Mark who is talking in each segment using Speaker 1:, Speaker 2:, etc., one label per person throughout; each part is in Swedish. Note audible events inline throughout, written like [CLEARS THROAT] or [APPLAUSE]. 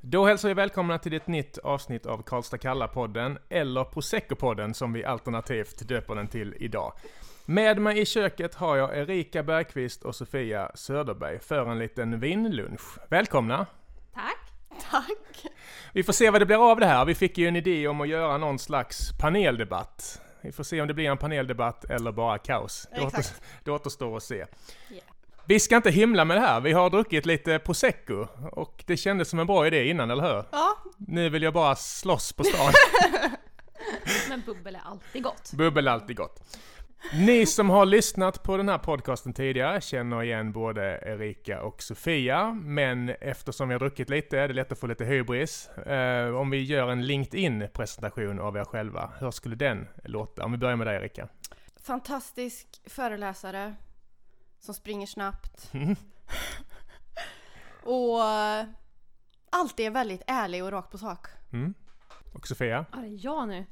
Speaker 1: Då hälsar vi välkomna till ett nytt avsnitt av Karlstad Kalla-podden, eller Prosecco-podden som vi alternativt döper den till idag. Med mig i köket har jag Erika Bergqvist och Sofia Söderberg för en liten vinlunch. Välkomna!
Speaker 2: Tack.
Speaker 3: Tack.
Speaker 1: Vi får se vad det blir av det här. Vi fick ju en idé om att göra någon slags paneldebatt. Vi får se om det blir en paneldebatt eller bara kaos. Det,
Speaker 3: Exakt.
Speaker 1: återstår, [LAUGHS] det återstår att se.
Speaker 2: Yeah.
Speaker 1: Vi ska inte himla med det här. Vi har druckit lite prosecco och det kändes som en bra idé innan, eller hur?
Speaker 3: Ja,
Speaker 1: Nu vill jag bara slåss på stan.
Speaker 2: Men bubbel är alltid gott.
Speaker 1: Bubbel är alltid gott. Ni som har lyssnat på den här podcasten tidigare känner igen både Erika och Sofia, men eftersom vi har druckit lite är det lätt att få lite hybris. Eh, om vi gör en LinkedIn-presentation av er själva, hur skulle den låta? Om vi börjar med dig Erika.
Speaker 3: fantastisk föreläsare som springer [LAUGHS] snabbt
Speaker 1: Mm.
Speaker 3: och eh, alltid är väldigt ärlig och rakt på sak.
Speaker 1: Mm. Och Sofia?
Speaker 2: Ja, det är jag nu.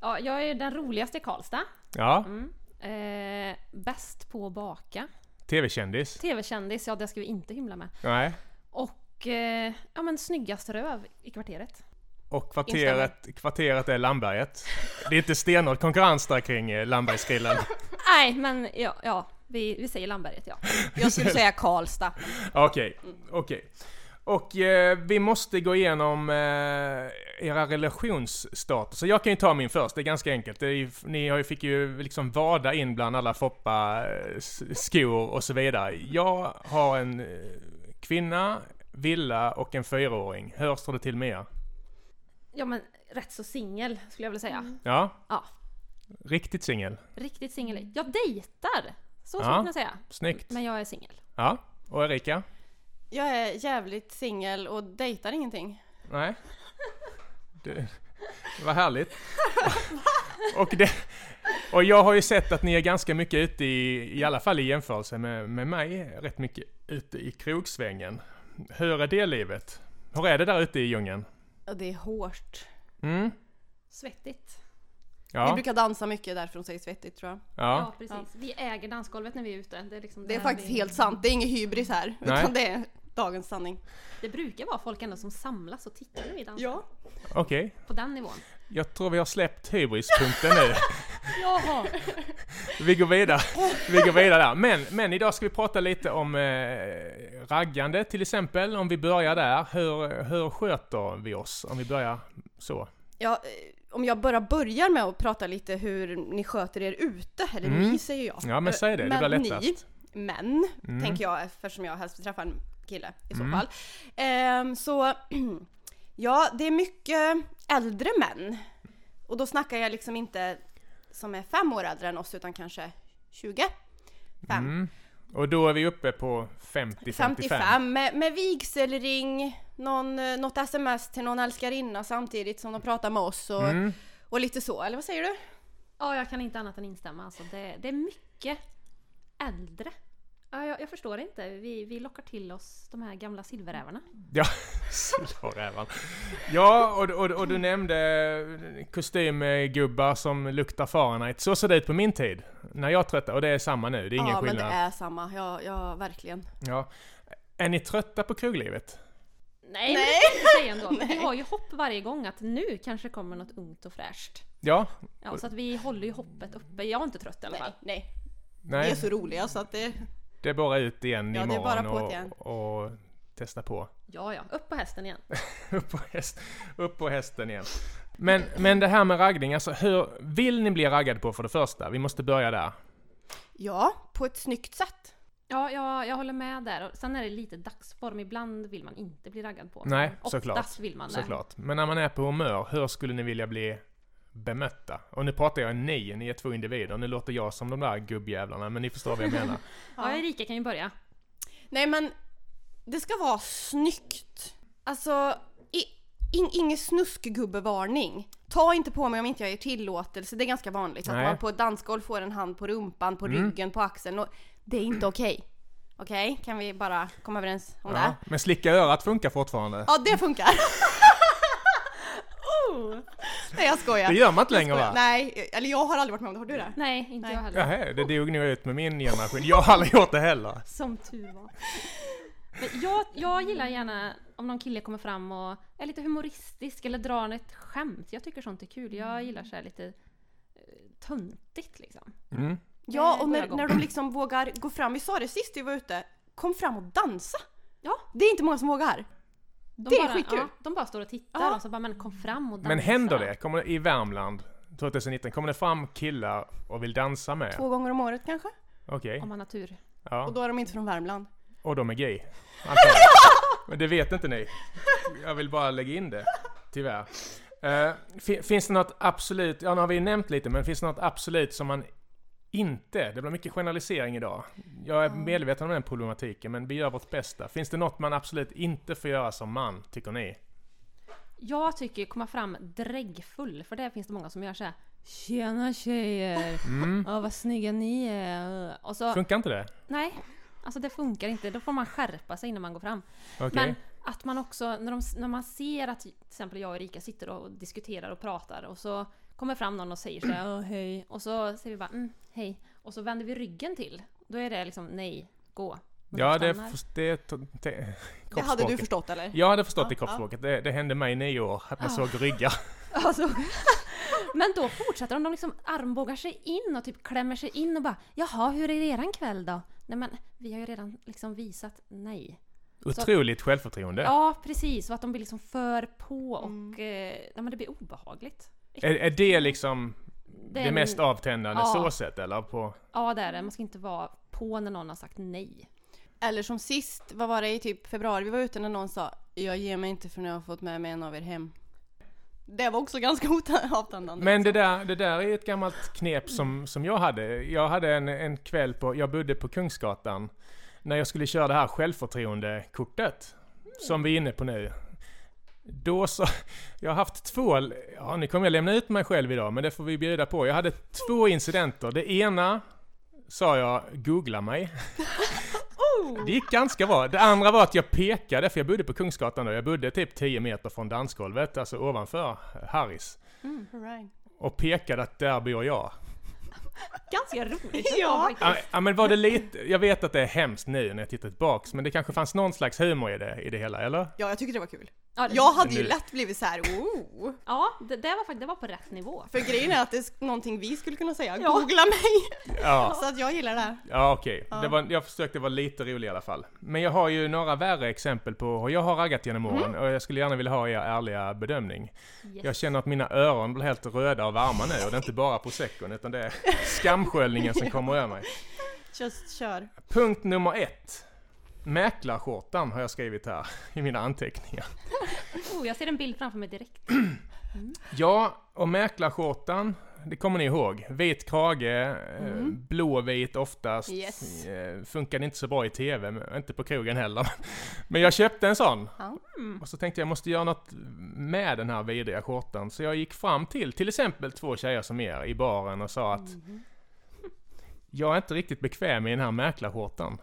Speaker 2: Ja, jag är den roligaste i Karlstad.
Speaker 1: Ja,
Speaker 2: Mm. Eh, bäst på att baka.
Speaker 1: tv-kändis?
Speaker 2: TV-kändis, ja det ska vi inte hymla med.
Speaker 1: Nej.
Speaker 2: Och eh, ja men snyggast röv i kvarteret.
Speaker 1: Och kvarteret, kvarteret är Landberget. Det är inte stenhård konkurrens där kring eh, Landbergsgrillen.
Speaker 2: Nej men ja, ja vi, vi säger Landberget ja.
Speaker 3: Jag skulle säga Karlstad.
Speaker 1: Okej, okej. Och eh, vi måste gå igenom eh, era relationsstatus. Så jag kan ju ta min först, det är ganska enkelt. Det är ju, ni har ju, fick ju liksom vada in bland alla Foppa eh, s- skor och så vidare. Jag har en eh, kvinna, villa och en fyraåring. Hur står det till med er?
Speaker 2: Ja men rätt så singel skulle jag vilja säga.
Speaker 1: Ja?
Speaker 2: Ja.
Speaker 1: Riktigt singel.
Speaker 2: Riktigt singel. Jag dejtar! Så skulle
Speaker 1: Ja.
Speaker 2: man kunna säga.
Speaker 1: Snyggt.
Speaker 2: Men jag är singel.
Speaker 1: Ja. Och Erika?
Speaker 3: Jag är jävligt singel och dejtar ingenting.
Speaker 1: Nej. Det, vad härligt. [LAUGHS] Och, det, och jag har ju sett att ni är ganska mycket ute i, i alla fall i jämförelse med, med mig, rätt mycket ute i krogsvängen. Hur är det livet? Hur är det där ute i djungeln?
Speaker 3: Och det är hårt.
Speaker 1: Mm?
Speaker 2: Svettigt.
Speaker 3: Vi
Speaker 1: Ja,
Speaker 3: brukar dansa mycket därför de säger svettigt tror jag.
Speaker 2: Ja,
Speaker 1: ja.
Speaker 2: precis. Vi äger dansgolvet när vi är ute. Det är, liksom
Speaker 3: Det är
Speaker 2: här
Speaker 3: faktiskt
Speaker 2: vi-
Speaker 3: helt sant. Det är ingen hybris här.
Speaker 1: Nej.
Speaker 3: Utan det är dagens sanning.
Speaker 2: Det brukar vara folk ändå som samlas och tittar när vi dansar.
Speaker 3: Ja.
Speaker 1: Okej,
Speaker 2: På den nivån.
Speaker 1: jag tror vi har släppt hybrispunkten nu.
Speaker 2: Jaha!
Speaker 1: Vi går vidare. Vi går vidare där. Men, men idag ska vi prata lite om eh, raggande till exempel. Om vi börjar där, hur, hur sköter vi oss? Om vi börjar så.
Speaker 3: Ja, eh, om jag bara börjar med att prata lite hur ni sköter er ute, eller
Speaker 1: Mm.
Speaker 3: ni säger jag.
Speaker 1: Ja, men säg det. Det
Speaker 3: Men
Speaker 1: blir
Speaker 3: Ni,
Speaker 1: lättast.
Speaker 3: män,
Speaker 1: Mm.
Speaker 3: tänker jag eftersom jag helst vill träffa en kille i så
Speaker 1: Mm.
Speaker 3: fall. Ehm, så [CLEARS THROAT] ja, det är mycket äldre män. Och då snackar jag liksom inte som är fem år äldre än oss utan kanske 20. Fem.
Speaker 1: Mm. Och då är vi uppe på 50-55.
Speaker 3: 55 med, med vigselring, någon, eh, något sms till någon älskarinna samtidigt som de pratar med oss och,
Speaker 1: Mm.
Speaker 3: och lite så, eller vad säger du?
Speaker 2: Ja, jag kan inte annat än instämma. Alltså, det, det är mycket äldre. Ja, jag, jag förstår inte. Vi, vi lockar till oss de här gamla silverrävarna.
Speaker 3: [LAUGHS]
Speaker 1: Ja, slårävan. Ja, och, och, och du nämnde kostymgubbar som luktar Fahrenheit. Så såg det ut på min tid. När jag tröttnade. Och det är samma nu. Det är ingen
Speaker 3: ja,
Speaker 1: skillnad.
Speaker 3: men det är samma. Ja, ja verkligen.
Speaker 1: Ja. Är ni trötta på kroglivet?
Speaker 2: Nej,
Speaker 3: Nej.
Speaker 2: Nej. Ändå. Men Vi
Speaker 3: Nej.
Speaker 2: har ju hopp varje gång att nu kanske kommer något ungt och fräscht.
Speaker 1: Ja.
Speaker 2: Ja, så att vi håller ju hoppet uppe. Jag är inte trött i alla fall.
Speaker 3: Nej, nej. Vi
Speaker 1: Nej.
Speaker 3: är så roliga så att det...
Speaker 1: Det är bara ut igen
Speaker 3: Ja, det är
Speaker 1: imorgon
Speaker 3: bara på igen.
Speaker 1: och, och testa på. [LAUGHS]
Speaker 2: Ja, ja. Upp på hästen igen.
Speaker 1: upp, på häst, upp på hästen igen. Men, men det här med raggning, alltså hur vill ni bli raggad på för det första? Vi måste börja där.
Speaker 3: Ja, på ett snyggt sätt.
Speaker 2: Ja, jag, jag håller med där. Och sen är det lite dagsform. Ibland vill man inte bli raggad på.
Speaker 1: Nej,
Speaker 2: Men Oftast
Speaker 1: såklart.
Speaker 2: vill man det.
Speaker 1: Såklart. Men när man är på humör, hur skulle ni vilja bli bemötta? Och nu pratar jag ni, ni är två individer. Nu låter jag som de där gubbjävlarna, men ni förstår vad jag
Speaker 3: [LAUGHS]
Speaker 1: menar.
Speaker 2: Ja, Erika kan ju börja.
Speaker 3: Nej men, det ska vara snyggt. Alltså, i, in, ingen snuskgubbevarning. Ta inte på mig om inte jag ger tillåtelse. Det är ganska vanligt
Speaker 1: Nej. Mm.
Speaker 3: att man på ett dansgolv får en hand på rumpan, på ryggen, på axeln. Och det
Speaker 1: [CLEARS THROAT]
Speaker 3: är inte okej. Okej, kan vi bara komma överens om
Speaker 1: Ja.
Speaker 3: det?
Speaker 1: Men slicka örat funkar fortfarande.
Speaker 3: Ja, det funkar! [LAUGHS] Oh. Nej jag skojar.
Speaker 1: Det gör man inte längre va?
Speaker 3: Nej, eller jag har aldrig varit med om det. Har du det?
Speaker 2: Nej, inte
Speaker 3: Nej.
Speaker 2: jag heller.
Speaker 1: Jaha, det dog nog ut med min generation. Jag har aldrig gjort det heller.
Speaker 2: Som tur var. Men Jag, jag gillar gärna om någon kille kommer fram och är lite humoristisk eller drar ett skämt. Jag tycker sånt är kul.
Speaker 3: Mm.
Speaker 2: Jag gillar så här lite eh, töntigt liksom.
Speaker 1: Mm.
Speaker 3: Ja,
Speaker 2: Det
Speaker 3: och
Speaker 2: går
Speaker 3: när,
Speaker 2: jag igång.
Speaker 3: när de liksom vågar gå fram. Vi sa det sist vi var ute. Kom fram och dansa!
Speaker 2: Ja.
Speaker 3: Det är inte många som vågar.
Speaker 2: De
Speaker 3: Det är
Speaker 2: bara,
Speaker 3: skitkul.
Speaker 2: Ja, de bara står och tittar
Speaker 3: Ja.
Speaker 2: och så bara men kom fram och dansa.
Speaker 1: Men händer det? Kommer det i Värmland 2019, kommer det fram killar och vill dansa med?
Speaker 3: Två gånger om året kanske.
Speaker 1: Okej.
Speaker 2: Om man har tur.
Speaker 1: Ja.
Speaker 3: Och då är de inte från Värmland.
Speaker 1: Och de är gay. Antagligen. Men det vet inte ni. Jag vill bara lägga in det. Tyvärr. Eh, fi- finns det något absolut, ja nu har vi ju nämnt lite, men finns det något absolut som man inte, det blir mycket generalisering idag. Jag är medveten om den problematiken, men vi gör vårt bästa. Finns det något man absolut inte får göra som man, tycker ni?
Speaker 2: Jag tycker komma fram dräggfull, för där finns det många som gör så här. Tjena tjejer!
Speaker 1: Mm.
Speaker 2: Ja, vad snygga ni är! Och så,
Speaker 1: Funkar inte det?
Speaker 2: nej, alltså det funkar inte. Då får man skärpa sig innan man går fram.
Speaker 1: Okej.
Speaker 2: Men att man också, när, de, när man ser att till exempel jag och Erika sitter och diskuterar och pratar och så kommer fram någon och säger så här, "Åh, hej. Och så säger vi bara mm, hej. Och så vänder vi ryggen till. Då är det liksom nej, gå. Men
Speaker 1: Ja,
Speaker 2: de
Speaker 1: det,
Speaker 2: stannar.
Speaker 1: f- det, det, det
Speaker 3: Det hade du förstått eller?
Speaker 1: Jag hade förstått det i kroppsspråket. Det, det hände mig i nio år, att man såg ryggar.
Speaker 2: Alltså. Men då fortsätter de, de liksom armbågar sig in och typ klämmer sig in och bara Jaha, hur är eran kväll då? Nej men vi har ju redan liksom visat nej.
Speaker 1: Otroligt självförtroende.
Speaker 2: Ja precis, och att de blir liksom för på och eh, nej, men det blir obehagligt.
Speaker 1: Är, är det liksom
Speaker 2: är
Speaker 1: det
Speaker 2: en-
Speaker 1: mest avtändande
Speaker 2: Ja.
Speaker 1: så sett eller? På,
Speaker 2: Ja det är det, man ska inte vara på när någon har sagt nej.
Speaker 3: Eller som sist, vad var det i typ februari vi var ute när någon sa Jag ger mig inte förrän jag har fått med mig en av er hem. Det var också ganska [LAUGHS] ota- avtändande.
Speaker 1: men det där, det där är ett gammalt knep som, som jag hade. Jag hade en, en kväll på, jag bodde på Kungsgatan, när jag skulle köra det här självförtroendekortet, som vi är inne på nu. Då så, [LAUGHS] jag har haft två, ja nu kommer jag lämna ut mig själv idag, men det får vi bjuda på. Jag hade två incidenter. Det ena sa jag, googla mig. Det gick ganska bra. Det andra var att jag pekade, för jag bodde på Kungsgatan då. Jag bodde typ 10 meter från dansgolvet, alltså ovanför Harris.
Speaker 3: Right.
Speaker 1: Och pekade att där bor jag.
Speaker 2: Ganska roligt [LAUGHS] Oh
Speaker 3: Ja.
Speaker 1: Ja, Ja men var det lite, jag vet att det är hemskt nu när jag tittar tillbaks, men det kanske fanns någon slags humor i det, i det hela, eller?
Speaker 3: Ja, jag tyckte det var kul.
Speaker 2: Ja, det,
Speaker 3: Jag hade ju
Speaker 1: Nu-
Speaker 3: lätt blivit så här, oh.
Speaker 2: ja det, det var faktiskt det var på rätt nivå.
Speaker 3: För grejen är att det är någonting vi skulle kunna säga, googla mig!
Speaker 1: Ja,
Speaker 3: Så att jag gillar det. här.
Speaker 1: ja okej. Det var, jag försökte vara lite rolig i alla fall. Men jag har ju några värre exempel på hur jag har raggat genom åren, och jag skulle gärna vilja ha er ärliga bedömning.
Speaker 2: Yes.
Speaker 1: Jag känner att mina öron blir helt röda och varma nu, och det är inte bara proseccon, utan det är skamsköljningen som kommer över mig.
Speaker 3: Just kör.
Speaker 1: Punkt nummer ett. Mäklarskjortan har jag skrivit här i mina anteckningar.
Speaker 2: Oh, jag ser en bild framför mig direkt.
Speaker 1: Ja, och mäklarskjortan, det kommer ni ihåg. Vit krage, eh, blåvit oftast.
Speaker 3: Mhm. Yes.
Speaker 1: Eh, Funkade inte så bra i tv, men inte på krogen heller. [LAUGHS] Men jag köpte en sån.
Speaker 3: Ja.
Speaker 1: Och så tänkte jag, jag måste göra något med den här vidriga skjortan. Så jag gick fram till, till exempel två tjejer som er i baren och sa att
Speaker 3: Mhm.
Speaker 1: jag är inte riktigt bekväm i den här mäklarskjortan.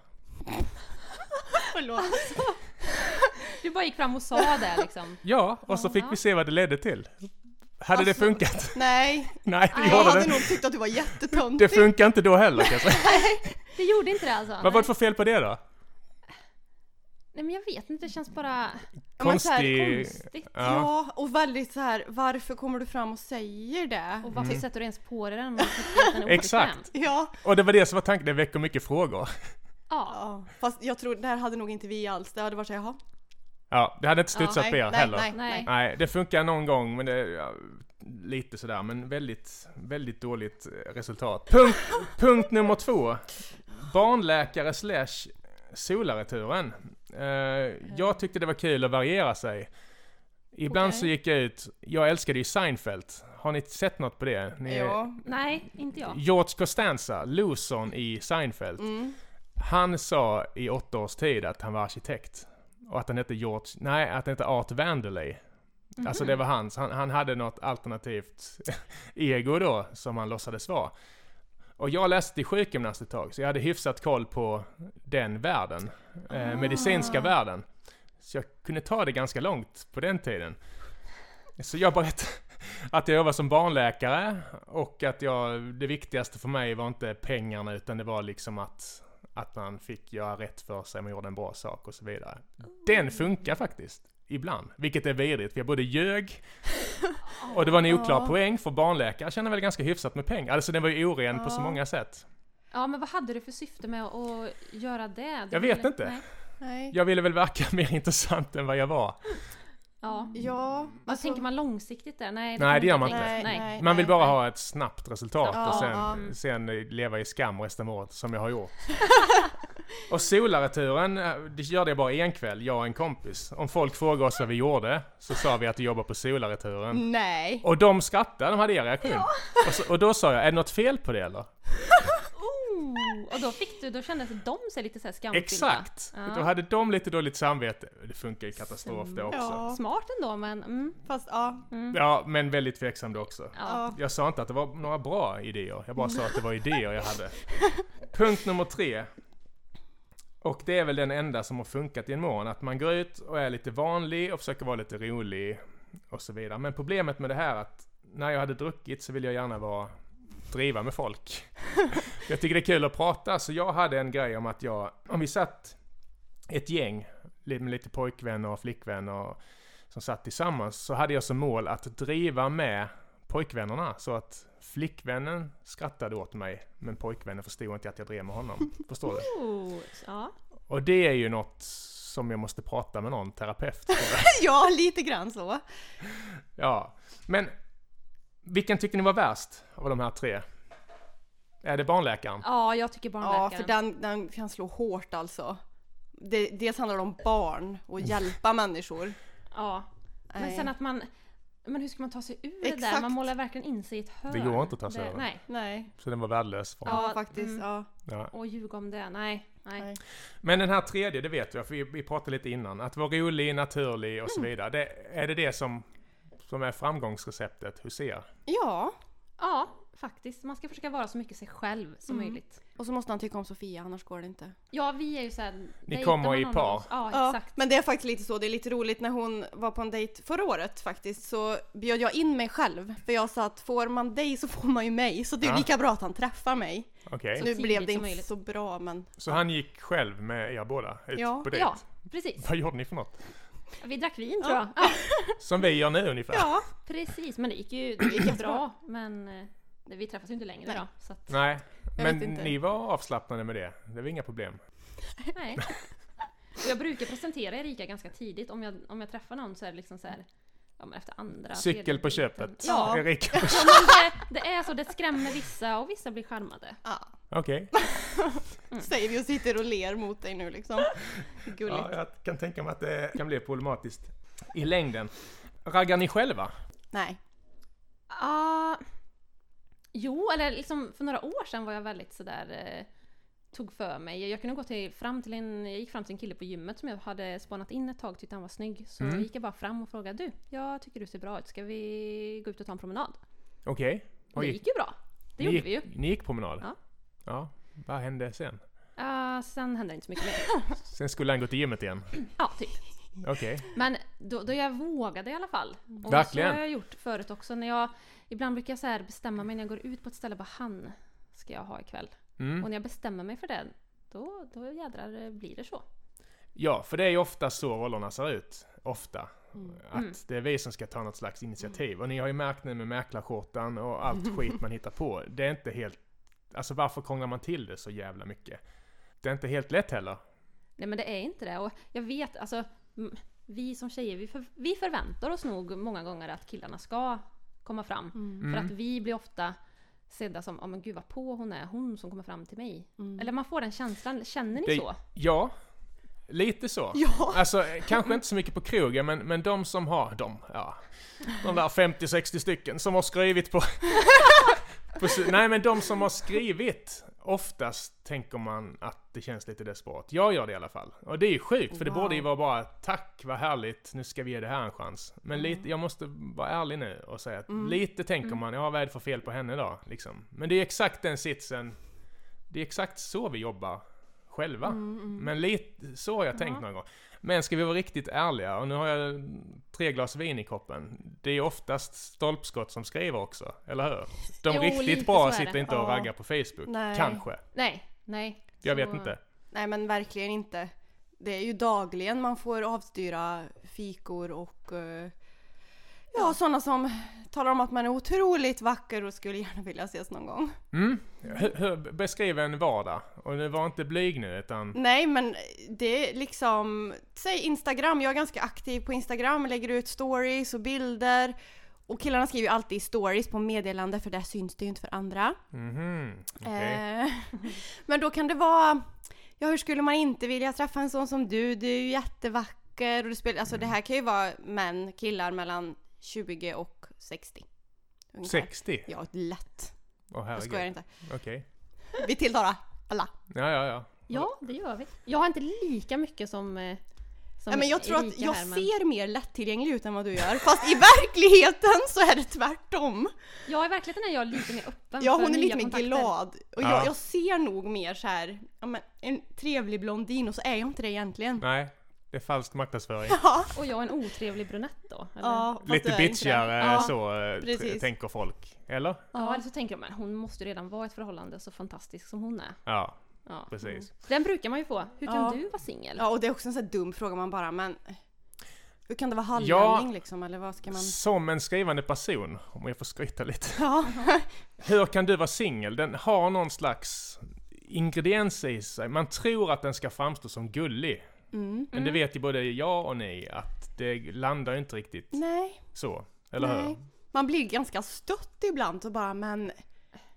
Speaker 3: Förlåt.
Speaker 2: Du bara gick fram och sa det [LAUGHS] liksom.
Speaker 1: Ja, och så fick vi se vad det ledde till. Hade det
Speaker 3: Alltså-
Speaker 1: funkat? [LAUGHS]
Speaker 3: Nej,
Speaker 1: Nej, det
Speaker 3: jag
Speaker 1: gjorde
Speaker 3: hade
Speaker 1: det.
Speaker 3: nog tyckt att du var jättetöntig.
Speaker 1: Det funkar inte då heller kan jag säga.
Speaker 2: Det gjorde inte det alltså?
Speaker 1: Vad var det för fel på det då?
Speaker 2: Nej men jag vet inte, det känns bara
Speaker 3: men så här,
Speaker 1: Konstig...
Speaker 2: konstigt.
Speaker 1: Ja.
Speaker 3: Ja, och väldigt så här, varför kommer du fram och säger det?
Speaker 2: Och varför sätter du ens på dig den om man tycker att den är
Speaker 1: Mm. Exakt.
Speaker 2: obekväm?
Speaker 3: Ja.
Speaker 1: Och det var det som var tanken, det väcker mycket frågor.
Speaker 2: Ja.
Speaker 3: ja. Fast jag tror, där hade nog inte vi alls, det hade varit såhär, jaha.
Speaker 1: Typ Ja, det hade inte studsat
Speaker 3: nej,
Speaker 1: på er
Speaker 3: nej,
Speaker 1: heller.
Speaker 3: nej.
Speaker 2: Nej.
Speaker 1: Nej, det funkar någon gång, men det... är, Ja, lite sådär, men väldigt, väldigt dåligt eh, resultat. Punkt, punkt nummer två. Barnläkare slash solareturen. Eh, jag tyckte det var kul att variera sig. Ibland
Speaker 2: Okej.
Speaker 1: så gick jag ut, jag älskade ju Seinfeld. Har ni sett något på det? Ni,
Speaker 3: Ja.
Speaker 2: Nej, inte jag.
Speaker 1: George Costanza, Luzon i Seinfeld.
Speaker 3: Mm.
Speaker 1: Han sa i åtta års tid att han var arkitekt. Och att han hette George, nej, att han hette Art Vanderley. Alltså det var hans, han, han hade något alternativt [LAUGHS] ego då, som han låtsades vara. Och jag läste till sjukgymnast ett tag, så jag hade hyfsat koll på den världen. Eh, medicinska världen. Så jag kunde ta det ganska långt på den tiden. Så jag berättade [LAUGHS] att jag jobbade som barnläkare och att jag, det viktigaste för mig var inte pengarna utan det var liksom att, Att man fick göra rätt för sig, man gjorde en bra sak och så vidare. Den funkar faktiskt. Ibland. Vilket är vidrigt, för jag både
Speaker 3: [LAUGHS]
Speaker 1: ljög och det var en oklar
Speaker 3: Ja.
Speaker 1: poäng för barnläkare tjänar väl ganska hyfsat med pengar. Alltså den var ju oren på så
Speaker 3: Ja.
Speaker 1: många sätt.
Speaker 2: Ja, men vad hade du för syfte med att göra det? Du
Speaker 1: Jag vet
Speaker 2: ville-
Speaker 1: inte.
Speaker 2: Nej.
Speaker 3: Nej.
Speaker 1: Jag ville väl verka [LAUGHS] mer intressant än vad jag var.
Speaker 2: Ja.
Speaker 3: Ja. Alltså,
Speaker 2: Vad tänker man långsiktigt där?
Speaker 1: Nej,
Speaker 2: Nej, kan
Speaker 1: det gör man
Speaker 2: tänka.
Speaker 1: inte.
Speaker 2: Alltså- Nej.
Speaker 1: Man vill bara ha ett snabbt resultat
Speaker 3: Ja,
Speaker 1: och sen,
Speaker 3: ja.
Speaker 1: sen leva i skam resten av året, som jag har
Speaker 3: [LAUGHS]
Speaker 1: gjort. och solareturen, eh, det gjorde jag bara en kväll, jag och en kompis. Om folk frågade oss vad vi gjorde, så sa vi att vi jobbar på solareturen.
Speaker 3: Nej. [LAUGHS]
Speaker 1: Och de skrattade, de hade er reaktion. Och, så, och då sa jag, är det något fel på det eller?
Speaker 2: Oh, och då fick du, då kändes de sig lite så här skamfyllda.
Speaker 1: Exakt! Då
Speaker 2: Ja.
Speaker 1: hade de lite dåligt samvete. Det funkar ju katastrof det också.
Speaker 3: Ja.
Speaker 2: Smart ändå, men mm,
Speaker 3: Fast ja.
Speaker 1: Ja, men väldigt tveksam det också.
Speaker 2: ja.
Speaker 1: Jag sa inte att det var några bra idéer, jag bara sa att det var idéer jag hade. Punkt nummer tre. Och det är väl den enda som har funkat i en mån, att man går ut och är lite vanlig och försöker vara lite rolig och så vidare. Men problemet med det här är att när jag hade druckit så ville jag gärna vara driva med folk. jag tycker det är kul att prata, så jag hade en grej om att jag, om vi satt ett gäng li- med lite pojkvänner och flickvänner som satt tillsammans, så hade jag som mål att driva med pojkvännerna så att flickvännen skrattade åt mig, men pojkvännen förstod inte att jag drev med [LAUGHS] honom. Förstår du?
Speaker 2: Oh, ja.
Speaker 1: Och det är ju något som jag måste prata med någon terapeut tror [LAUGHS] jag.
Speaker 3: ja, lite grann så.
Speaker 1: Ja, men vilken tyckte ni var värst av de här tre? Är det barnläkaren?
Speaker 2: ja, jag tycker
Speaker 3: Ja,
Speaker 2: barnläkaren.
Speaker 3: för den, den kan slå hårt alltså. Det, dels handlar det om barn och hjälpa människor.
Speaker 2: Ja. Men
Speaker 3: Nej.
Speaker 2: sen att man... Men hur ska man ta sig ur det där?
Speaker 3: Exakt.
Speaker 2: Man målar verkligen in sig i ett hörn.
Speaker 1: Det går inte att ta sig
Speaker 2: Det-
Speaker 1: ur.
Speaker 2: Nej.
Speaker 3: Nej.
Speaker 1: Så den var värdelös. För honom.
Speaker 3: Ja,
Speaker 2: Ja,
Speaker 3: faktiskt.
Speaker 2: mm.
Speaker 3: Ja.
Speaker 1: Ja.
Speaker 2: Och ljuga om det. Nej. Nej.
Speaker 3: Nej.
Speaker 1: Men den här tredje, det vet jag, för vi, vi pratade lite innan. Att vara rolig, naturlig och så vidare. Det, är det det som, som är framgångsreceptet hos er?
Speaker 3: ja.
Speaker 2: Ja, faktiskt. Man ska försöka vara så mycket sig själv som
Speaker 3: Mm.
Speaker 2: möjligt.
Speaker 3: Och så måste han tycka om Sofia, annars går det inte.
Speaker 2: Ja, vi är ju såhär... dejtar
Speaker 1: kommer
Speaker 2: man
Speaker 1: i
Speaker 2: någon
Speaker 1: par.
Speaker 2: av oss- Ja, exakt.
Speaker 3: men det är faktiskt lite så. Det är lite roligt när hon var på en dejt förra året faktiskt så bjöd jag in mig själv. För jag sa att får man dig så får man ju mig. Så det är
Speaker 1: Ja.
Speaker 3: lika bra att han träffar mig.
Speaker 1: Okej.
Speaker 2: Så
Speaker 3: nu
Speaker 2: tidigt
Speaker 3: blev det
Speaker 2: som
Speaker 3: inte
Speaker 2: möjligt.
Speaker 3: så bra men...
Speaker 1: Så han gick själv med er båda ut
Speaker 3: Ja.
Speaker 1: på dejt?
Speaker 2: Ja, precis.
Speaker 1: Vad gjorde ni för något?
Speaker 2: Vi drack vin tror jag. Ja,
Speaker 1: Som vi gör nu ungefär?
Speaker 3: Ja.
Speaker 2: precis. Men det gick ju det
Speaker 3: [CLEARS THROAT]
Speaker 2: gick ju bra. Men eh, vi träffas ju inte längre
Speaker 3: Nej.
Speaker 2: då. Så att,
Speaker 1: Nej,
Speaker 3: Jag
Speaker 1: men
Speaker 3: vet inte.
Speaker 1: ni var avslappnade med det. Det var inga problem.
Speaker 2: nej.
Speaker 1: [LAUGHS]
Speaker 2: Och jag brukar presentera Erika ganska tidigt. Om jag, om jag träffar någon så är det liksom så här, ja, men efter andra...
Speaker 1: Cykel på
Speaker 2: tredje dejten.
Speaker 1: köpet.
Speaker 2: Ja,
Speaker 1: Erika.
Speaker 2: Ja, men det, det är så, det skrämmer vissa och vissa blir charmade.
Speaker 3: Ja,
Speaker 1: [LAUGHS] Okej.
Speaker 3: säger vi och sitter och ler mot dig nu
Speaker 1: [LAUGHS]
Speaker 3: liksom. Gulligt.
Speaker 1: Ja, jag kan tänka mig att det kan bli problematiskt i längden. Raggar ni själva?
Speaker 3: Nej.
Speaker 2: Ah, jo, eller liksom för några år sedan var jag väldigt sådär eh, tog för mig. Jag kunde gå till, fram till en, jag gick fram till en kille på gymmet som jag hade spanat in ett tag, tyckte han var snygg. Så
Speaker 1: Mm.
Speaker 2: gick jag bara fram och frågade du, jag tycker du ser bra ut, ska vi gå ut och ta en promenad?
Speaker 1: Okej.
Speaker 2: Och det
Speaker 1: Oj.
Speaker 2: gick ju bra. Det
Speaker 1: ni
Speaker 2: gjorde
Speaker 1: gick,
Speaker 2: vi ju.
Speaker 1: Ni gick promenad?
Speaker 2: Ja.
Speaker 1: Ja. Vad hände sen?
Speaker 2: Ah, sen hände det inte så mycket mer.
Speaker 1: Sen skulle han gå till gymmet igen?
Speaker 2: Ja, typ.
Speaker 1: Okej.
Speaker 2: Men då, då jag vågade i alla fall. Och
Speaker 1: Verkligen.
Speaker 2: Så har jag gjort förut också. När jag, ibland brukar jag så här bestämma mig när jag går ut på ett ställe, bara han ska jag ha ikväll. Och
Speaker 1: Mm.
Speaker 2: när jag bestämmer mig för det, då, då jädrar eh, blir det så.
Speaker 1: Ja, för det är ju ofta så rollerna ser ut. Ofta. Att
Speaker 2: Mm.
Speaker 1: det är vi som ska ta något slags initiativ. Och ni har ju märkt nu med mäklarskjortan och allt skit man hittar på. Det är inte helt... Alltså varför krånglar man till det så jävla mycket? Det är inte helt lätt heller.
Speaker 2: Nej men det är inte det. Och jag vet, alltså m- vi som tjejer, vi, för, vi förväntar oss nog många gånger att killarna ska komma fram.
Speaker 1: Mm.
Speaker 2: För att vi blir ofta sedda som, ja men gud vad på hon är, hon som kommer fram till mig. Eller man får den känslan, känner ni
Speaker 1: Det-
Speaker 2: så?
Speaker 1: Ja, lite så.
Speaker 3: [LAUGHS] Ja.
Speaker 1: Alltså eh, kanske inte så mycket på krogen, men, men de som har, de, ja. De där 50-60 stycken som har skrivit på... [LAUGHS] på s- nej men de som har skrivit, oftast tänker man att det känns lite desperat. Jag gör det i alla fall. Och det är ju sjukt, för det
Speaker 3: Wow.
Speaker 1: borde ju vara bara tack vad härligt, nu ska vi ge det här en chans. Men lite, jag måste vara ärlig nu och säga att lite tänker man, ja vad är det för fel på henne då? Liksom. Men det är exakt den sitsen, det är exakt så vi jobbar själva. Men lite så har jag tänkt någon gång. Men ska vi vara riktigt ärliga, och nu har jag tre glas vin i koppen. Det är oftast stolpskott som skriver också, eller hur? De
Speaker 2: Jo,
Speaker 1: riktigt
Speaker 2: lite så
Speaker 1: bra
Speaker 2: är
Speaker 1: sitter
Speaker 2: det.
Speaker 1: inte och
Speaker 3: Ja.
Speaker 1: raggar på Facebook.
Speaker 3: Nej.
Speaker 1: Kanske.
Speaker 2: Nej, nej.
Speaker 1: Jag
Speaker 2: Så-
Speaker 1: vet inte.
Speaker 3: Nej men verkligen inte. Det är ju dagligen man får avstyra fikor och eh, ja, sådana som talar om att man är otroligt vacker och skulle gärna vilja ses någon gång.
Speaker 1: Mm. Hur, hur, beskriv en vardag. Och det var inte blyg nu utan...
Speaker 3: Nej men det är liksom, säg Instagram, jag är ganska aktiv på Instagram, lägger ut stories och bilder. Och killarna skriver ju alltid stories på meddelande för där syns det ju inte för andra.
Speaker 1: Mhm. Okej.
Speaker 3: Eh, [LAUGHS] men då kan det vara, ja hur skulle man inte vilja träffa en sån som du? Du är ju jättevacker och du spelar, alltså
Speaker 1: Mm.
Speaker 3: det här kan ju vara män, killar mellan 20 och 60. ungefär.
Speaker 1: 60?
Speaker 3: Ja, lätt.
Speaker 1: Åh
Speaker 3: Jag skojar
Speaker 1: herregud.
Speaker 3: inte.
Speaker 1: Okej.
Speaker 3: Vi tilltalar alla.
Speaker 1: Ja, ja, ja.
Speaker 2: Ja, det gör vi. Jag har inte lika mycket som... eh, som
Speaker 3: Nej, men jag tror att
Speaker 2: Erika
Speaker 3: jag
Speaker 2: här, men-
Speaker 3: ser mer lättillgänglig ut än vad du gör. Fast i verkligheten så är det tvärtom.
Speaker 2: Ja, i verkligheten är jag lite mer öppen
Speaker 3: Ja,
Speaker 2: för
Speaker 3: hon är
Speaker 2: Alltså, nya
Speaker 3: lite mer
Speaker 2: kontakter.
Speaker 3: glad. Och
Speaker 1: Ja.
Speaker 3: jag, jag ser nog mer så här, ja, men, en trevlig blondin och så är jag inte det egentligen.
Speaker 1: Nej, det är falsk marknadsföring.
Speaker 3: Ja,
Speaker 2: Och jag är en otrevlig brunett då. Eller?
Speaker 3: ja, fast du
Speaker 1: Lite
Speaker 3: är inte
Speaker 1: bitchigare
Speaker 3: det. Ja.
Speaker 1: så eh,
Speaker 3: precis.
Speaker 1: tr- tänker folk. Eller?
Speaker 2: Ja, eller så tänker de men hon måste ju redan vara i ett förhållande så fantastisk som hon är.
Speaker 1: Ja,
Speaker 2: Ja. Mm.
Speaker 1: precis.
Speaker 2: Den brukar man ju få. Hur kan
Speaker 3: Ja.
Speaker 2: du vara singel?
Speaker 3: Ja, och det är också en sån här dum fråga man bara, men hur kan det vara halvlänning
Speaker 1: Ja.
Speaker 3: liksom? Eller
Speaker 1: [LAUGHS]
Speaker 3: vad ska man...
Speaker 1: Som en skrivande person, om jag får skryta lite.
Speaker 3: Ja,
Speaker 1: Hur kan du vara singel? Den har någon slags ingrediens i sig. Man tror att den ska framstå som gullig.
Speaker 3: Mm.
Speaker 1: Men det vet ju både jag och ni att det landar ju inte riktigt
Speaker 3: [LAUGHS] nej,
Speaker 1: så. Eller
Speaker 3: nej.
Speaker 1: hur?
Speaker 3: Man blir ganska stött ibland och bara, men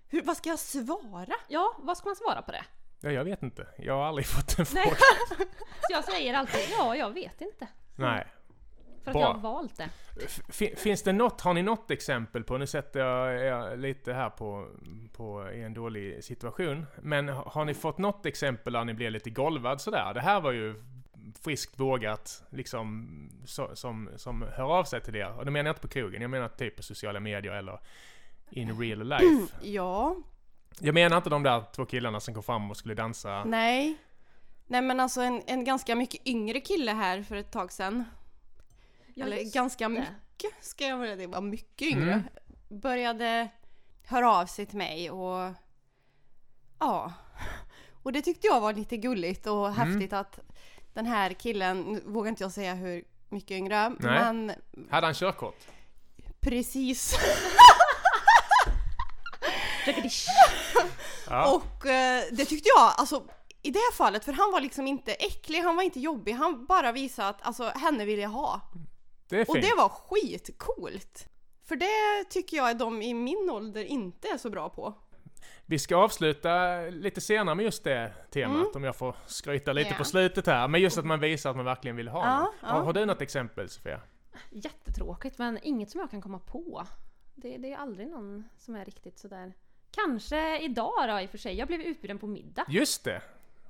Speaker 3: hur, vad ska jag svara?
Speaker 2: Ja, vad ska man svara på det?
Speaker 1: Ja, jag vet inte. Jag har aldrig [LAUGHS] fått en
Speaker 2: Nej.
Speaker 1: fråga.
Speaker 2: [LAUGHS] Så jag säger alltid ja, jag vet inte.
Speaker 1: Nej.
Speaker 2: För att
Speaker 1: Bra.
Speaker 2: jag har valt det.
Speaker 1: Fin- Finns det något, har ni något exempel på, nu sätter jag er lite här på, på i en dålig situation, men har har ni fått något exempel där ni blev lite golvad sådär? Det här var ju friskt vågat, liksom, så, som, som hör av sig till er. Och då menar jag inte på krogen, jag menar typ på sociala medier eller in real life.
Speaker 3: Ja,
Speaker 1: Jag menar inte de där två killarna som kom fram och skulle dansa.
Speaker 3: nej. Nej men alltså en, en ganska mycket yngre kille här för ett tag sedan.
Speaker 2: Ja,
Speaker 3: Eller
Speaker 2: just det.
Speaker 3: ganska mycket ska jag säga, det var mycket yngre.
Speaker 1: Mm.
Speaker 3: Började höra av sig till mig och ja. Och det tyckte jag var lite gulligt och
Speaker 1: Mm.
Speaker 3: häftigt att den här killen, nu vågar inte jag säga hur mycket yngre, men
Speaker 1: Hade han körkort?
Speaker 3: precis.
Speaker 2: Jackadish.
Speaker 1: Ja.
Speaker 3: [LAUGHS] Och eh, det tyckte jag, alltså i det här fallet, för han var liksom inte äcklig, han var inte jobbig, han bara visade att alltså henne vill jag ha.
Speaker 1: Det är
Speaker 3: Och
Speaker 1: fint.
Speaker 3: det var skitcoolt. För det tycker jag de i min ålder inte är så bra på.
Speaker 1: Vi ska avsluta lite senare med just det temat,
Speaker 2: Mm.
Speaker 1: om jag får skryta lite
Speaker 3: Ja.
Speaker 1: på slutet här. Men just att man visar att man verkligen vill ha
Speaker 3: Ja,
Speaker 1: någon.
Speaker 3: ja.
Speaker 1: Har, har du något exempel Sofia?
Speaker 2: Jättetråkigt men inget som jag kan komma på. Det, det är aldrig någon som är riktigt sådär. Kanske idag då i och för sig. Jag blev utbjuden på middag.
Speaker 1: Just det!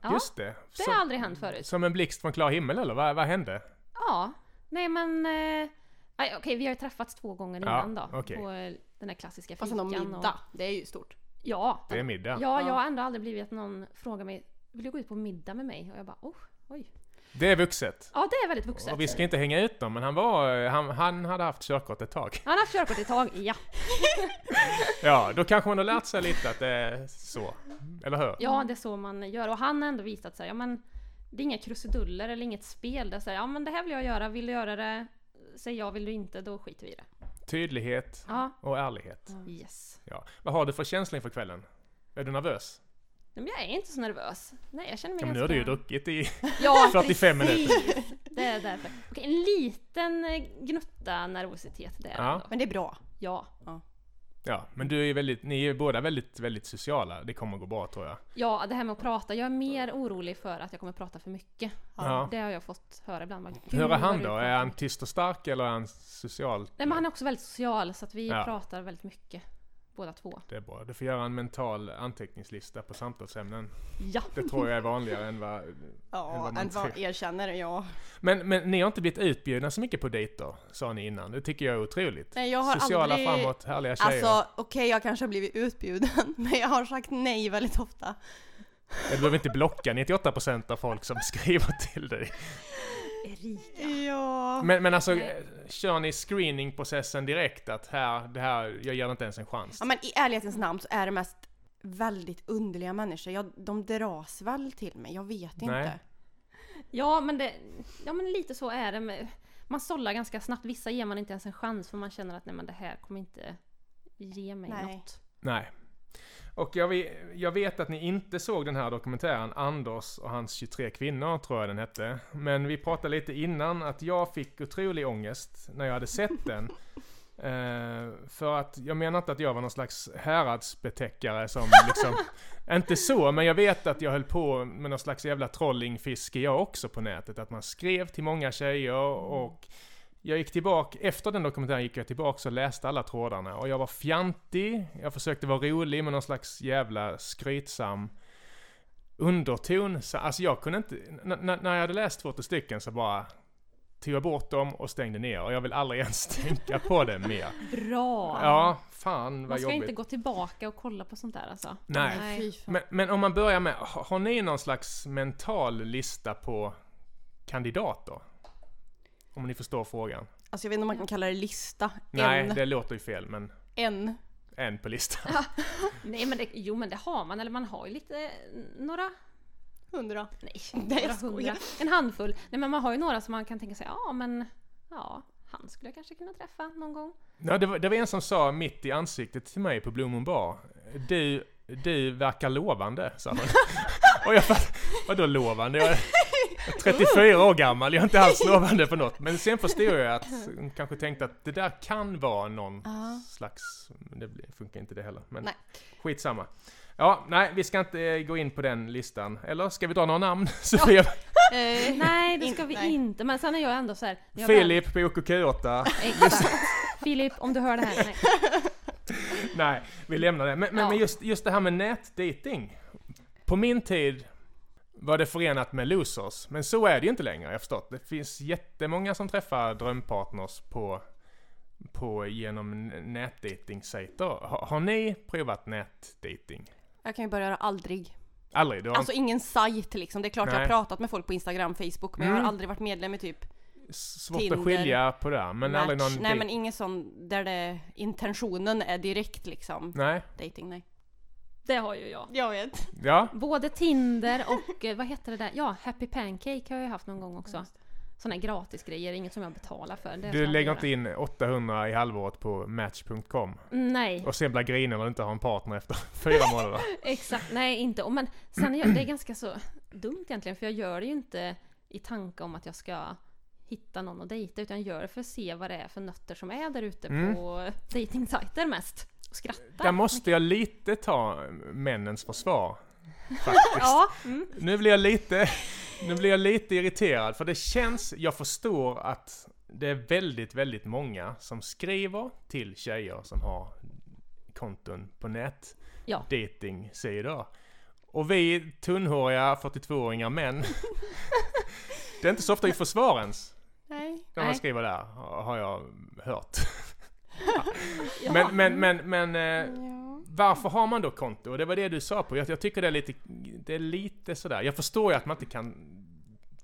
Speaker 2: Ja,
Speaker 1: Just det!
Speaker 2: Det har
Speaker 1: Som,
Speaker 2: aldrig hänt förut.
Speaker 1: som en blixt från klar himmel eller? Vad, vad hände?
Speaker 2: Ja, nej men... Eh, aj, okej, vi har ju träffats två gånger
Speaker 1: Ja,
Speaker 2: innan då.
Speaker 1: okej.
Speaker 2: På eh, den här klassiska
Speaker 3: Fast
Speaker 2: fikan.
Speaker 3: ändå middag, det är ju stort.
Speaker 2: Och, ja,
Speaker 1: Det är middag.
Speaker 2: ja,
Speaker 3: Ja.
Speaker 2: jag har ändå aldrig blivit att någon frågar mig Vill du gå ut på middag med mig? Och jag bara oh, oj.
Speaker 1: Det är vuxet.
Speaker 2: Ja, det är väldigt vuxet.
Speaker 1: Och vi ska inte hänga ut dem, men han var... Han, han hade haft körkort ett tag. [LAUGHS]
Speaker 2: Han har haft körkort ett tag, ja.
Speaker 1: Ja, då kanske man har lärt sig lite att det är så. Eller hur?
Speaker 2: Ja, det är så man gör. Och han har ändå visat sig, ja men det är inga krusiduller eller inget spel där säger ja men det här vill jag göra, vill du göra det? Säg ja, vill du inte? Då skiter vi i det.
Speaker 1: Tydlighet
Speaker 2: Ja,
Speaker 1: och ärlighet.
Speaker 2: yes.
Speaker 1: Ja. Vad har du för känsla inför kvällen? Är du nervös?
Speaker 2: Nej, men jag är inte så nervös. Nej, jag känner mig
Speaker 1: Ja, men nu har du
Speaker 2: ganska...
Speaker 1: ju druckit i [LAUGHS]
Speaker 2: Ja,
Speaker 1: 45 minuter.
Speaker 2: precis. Det är därför. Okej, en liten eh, gnutta nervositet där
Speaker 1: Ja.
Speaker 2: ändå.
Speaker 3: Men det är bra.
Speaker 2: Ja.
Speaker 1: Ja, men du är ju väldigt, ni är ju båda väldigt, väldigt sociala. Det kommer gå bra tror jag.
Speaker 2: ja, det här med att prata. Jag är mer orolig för att jag kommer prata för mycket.
Speaker 1: Ja.
Speaker 2: Det har jag fått höra ibland. Bara, "Gud,
Speaker 1: Hur är
Speaker 2: vad
Speaker 1: han
Speaker 2: du
Speaker 1: då?
Speaker 2: pratar."
Speaker 1: Är han tyst och stark eller är han social?
Speaker 2: Nej, men han är också väldigt social så att vi
Speaker 1: Ja.
Speaker 2: pratar väldigt mycket. Båda två.
Speaker 1: Det är bra. Du får göra en mental anteckningslista på samtalsämnen.
Speaker 2: Ja.
Speaker 1: Det tror jag är vanligare än vad... Eller
Speaker 3: Ja,
Speaker 1: vad man
Speaker 3: än vad
Speaker 1: säger.
Speaker 3: erkänner ja.
Speaker 1: Men, men ni har inte blivit utbjudna så mycket på dejter, sa ni innan. Det tycker jag är otroligt.
Speaker 3: Nej, jag har
Speaker 1: Sociala
Speaker 3: aldrig-
Speaker 1: framåt, härliga tjejer.
Speaker 3: Alltså okej, jag kanske har blivit utbjuden, [LAUGHS] men jag har sagt nej väldigt ofta.
Speaker 1: Jag behöver inte blocka 98% av folk som [LAUGHS] skriver till dig.
Speaker 2: Erika.
Speaker 3: Ja.
Speaker 1: Men, men alltså,
Speaker 2: Nej.
Speaker 1: kör ni screeningprocessen direkt? Att här, det här, jag ger det inte ens en chans.
Speaker 3: Ja men i ärlighetens namn så är det mest väldigt underliga människor. Jag, de dras väl till mig, jag vet
Speaker 1: Nej.
Speaker 3: inte.
Speaker 2: Ja men, det, ja men lite så är det. med- Man sållar ganska snabbt. Vissa ger man inte ens en chans för man känner att nej men det här kommer inte ge mig
Speaker 3: Nej.
Speaker 2: något.
Speaker 1: Nej. Och jag, ve- jag vet att ni inte såg den här dokumentären Anders och hans 23 kvinnor, tror jag den hette. Men vi pratade lite innan att jag fick otrolig ångest när jag hade sett den. [LAUGHS] Eh, för att jag menar inte att jag var någon slags häradsbetäckare som liksom... inte så, men jag vet att jag höll på med någon slags jävla trollingfiske jag också på nätet. Att man skrev till många tjejer och jag gick tillbaka, efter den dokumentären gick jag tillbaka och läste alla trådarna och jag var fjantig, jag försökte vara rolig med någon slags jävla skrytsam underton. Så, alltså jag kunde inte, n- n- när jag hade läst 40 stycken så bara tog jag bort dem och stängde ner och jag vill aldrig [LAUGHS] ens tänka på det mer.
Speaker 2: Bra!
Speaker 1: Ja, fan
Speaker 2: man
Speaker 1: vad
Speaker 2: ska
Speaker 1: jobbigt.
Speaker 2: inte gå tillbaka och kolla på sånt där alltså.
Speaker 1: Nej.
Speaker 3: Fy fan.
Speaker 1: Men, men om man börjar med, har har ni någon slags mental lista på kandidater? Om ni förstår frågan.
Speaker 3: Alltså jag vet inte om man kan kalla det lista.
Speaker 1: Nej,
Speaker 3: en.
Speaker 1: det låter ju fel men
Speaker 3: en.
Speaker 1: en på listan. [LAUGHS]
Speaker 2: Nej men det, jo men det har man, eller man har ju lite, eh, några,
Speaker 3: Hundra.
Speaker 2: nej,
Speaker 3: Nej,
Speaker 2: några
Speaker 3: jag skojar.
Speaker 2: hundra, en handfull. Nej men man har ju några som man kan tänka sig, ja men, ja, han skulle jag kanske kunna träffa någon gång.
Speaker 1: Ja, det, var, det var en som sa mitt i ansiktet till mig på Blommon bar. Du, du verkar lovande, sa hon. Och jag fatt- vadå lovande?
Speaker 3: [LAUGHS]
Speaker 1: Jag är
Speaker 3: Oh.
Speaker 1: 34 år gammal, jag är inte alls lovande på något. Men sen förstod jag att hon kanske tänkte att det där kan vara någon
Speaker 3: Ja.
Speaker 1: slags... Men det blir- funkar inte det heller. Men
Speaker 3: Nej.
Speaker 1: skitsamma. Ja, nej, vi ska inte eh, gå in på den listan. Eller ska vi dra några namn? [LAUGHS] Sofia,
Speaker 3: Eh,
Speaker 2: Nej det
Speaker 3: [LAUGHS] In-
Speaker 2: ska vi
Speaker 3: nej.
Speaker 2: inte, men sen är jag ändå så här. när jag väl-
Speaker 1: Filip på OKQ8.
Speaker 2: Exakt. Filip, om du hör det här. Nej.
Speaker 1: Nej, vi lämnar det. Men, men,
Speaker 2: Ja.
Speaker 1: men just, just det här med nätdating. På min tid var det förenat med losers, men så är det ju inte längre, jag har förstått. Det finns jättemånga som träffar drömpartners på, på genom nätdating-sajter. Har, har ni provat nätdating?
Speaker 3: jag kan ju börja aldrig.
Speaker 1: Aldrig? Du har
Speaker 3: Alltså ingen sajt liksom. Det är klart jag
Speaker 1: Nej.
Speaker 3: har pratat med folk på Instagram, Facebook men jag
Speaker 1: Mm.
Speaker 3: har aldrig varit medlem i typ
Speaker 1: inte svårt att
Speaker 3: Tinder,
Speaker 1: skilja på det där, men
Speaker 3: Match.
Speaker 1: aldrig någon
Speaker 3: Nej
Speaker 1: dej-
Speaker 3: men ingen sån där det, intentionen är direkt liksom.
Speaker 1: Nej,
Speaker 3: Dating nej.
Speaker 2: Det har ju jag.
Speaker 3: Jag vet.
Speaker 1: ja.
Speaker 2: Både Tinder och eh, vad heter det där? Ja, Happy Pancake har jag ju haft någon gång också. Såna här gratisgrejer, inget som jag betalar för. Det är
Speaker 1: Du
Speaker 2: sånt
Speaker 1: lägger
Speaker 2: jag
Speaker 1: inte
Speaker 2: gör.
Speaker 1: in 800 i halvåret på match.com
Speaker 2: Mm, Nej,
Speaker 1: och sen blir grinig när du inte har en partner efter [LAUGHS] fyra månader.
Speaker 2: exakt. Nej, inte. Och Men sen är jag, det är ganska så dumt egentligen, för jag gör det ju inte i tanke om att jag ska hitta någon att dejta, utan jag gör det för att se vad det är för nötter som är där ute
Speaker 1: Mm.
Speaker 2: på dejtingsajter mest. Och skratta.
Speaker 1: Där måste jag lite ta männens försvar. Faktiskt.
Speaker 2: Ja, mm.
Speaker 1: Nu blir jag lite, nu blir jag lite irriterad för det känns, jag förstår att det är väldigt, väldigt många som skriver till tjejer som har konton på nät.
Speaker 2: Ja.
Speaker 1: Dating-sidor. Och vi tunnhåriga 42-åringar
Speaker 2: [LAUGHS]
Speaker 1: män. det är inte så ofta vi försvarar ens
Speaker 3: Nej.
Speaker 1: när man
Speaker 2: Nej.
Speaker 1: skriver där, har jag
Speaker 2: [LAUGHS]
Speaker 1: hört.
Speaker 2: ja.
Speaker 1: Men, men, men, men eh,
Speaker 3: Ja.
Speaker 1: Varför har man då konto? Och det var det du sa på. Jag, jag tycker det är lite, det är lite sådär. Jag förstår ju att man inte kan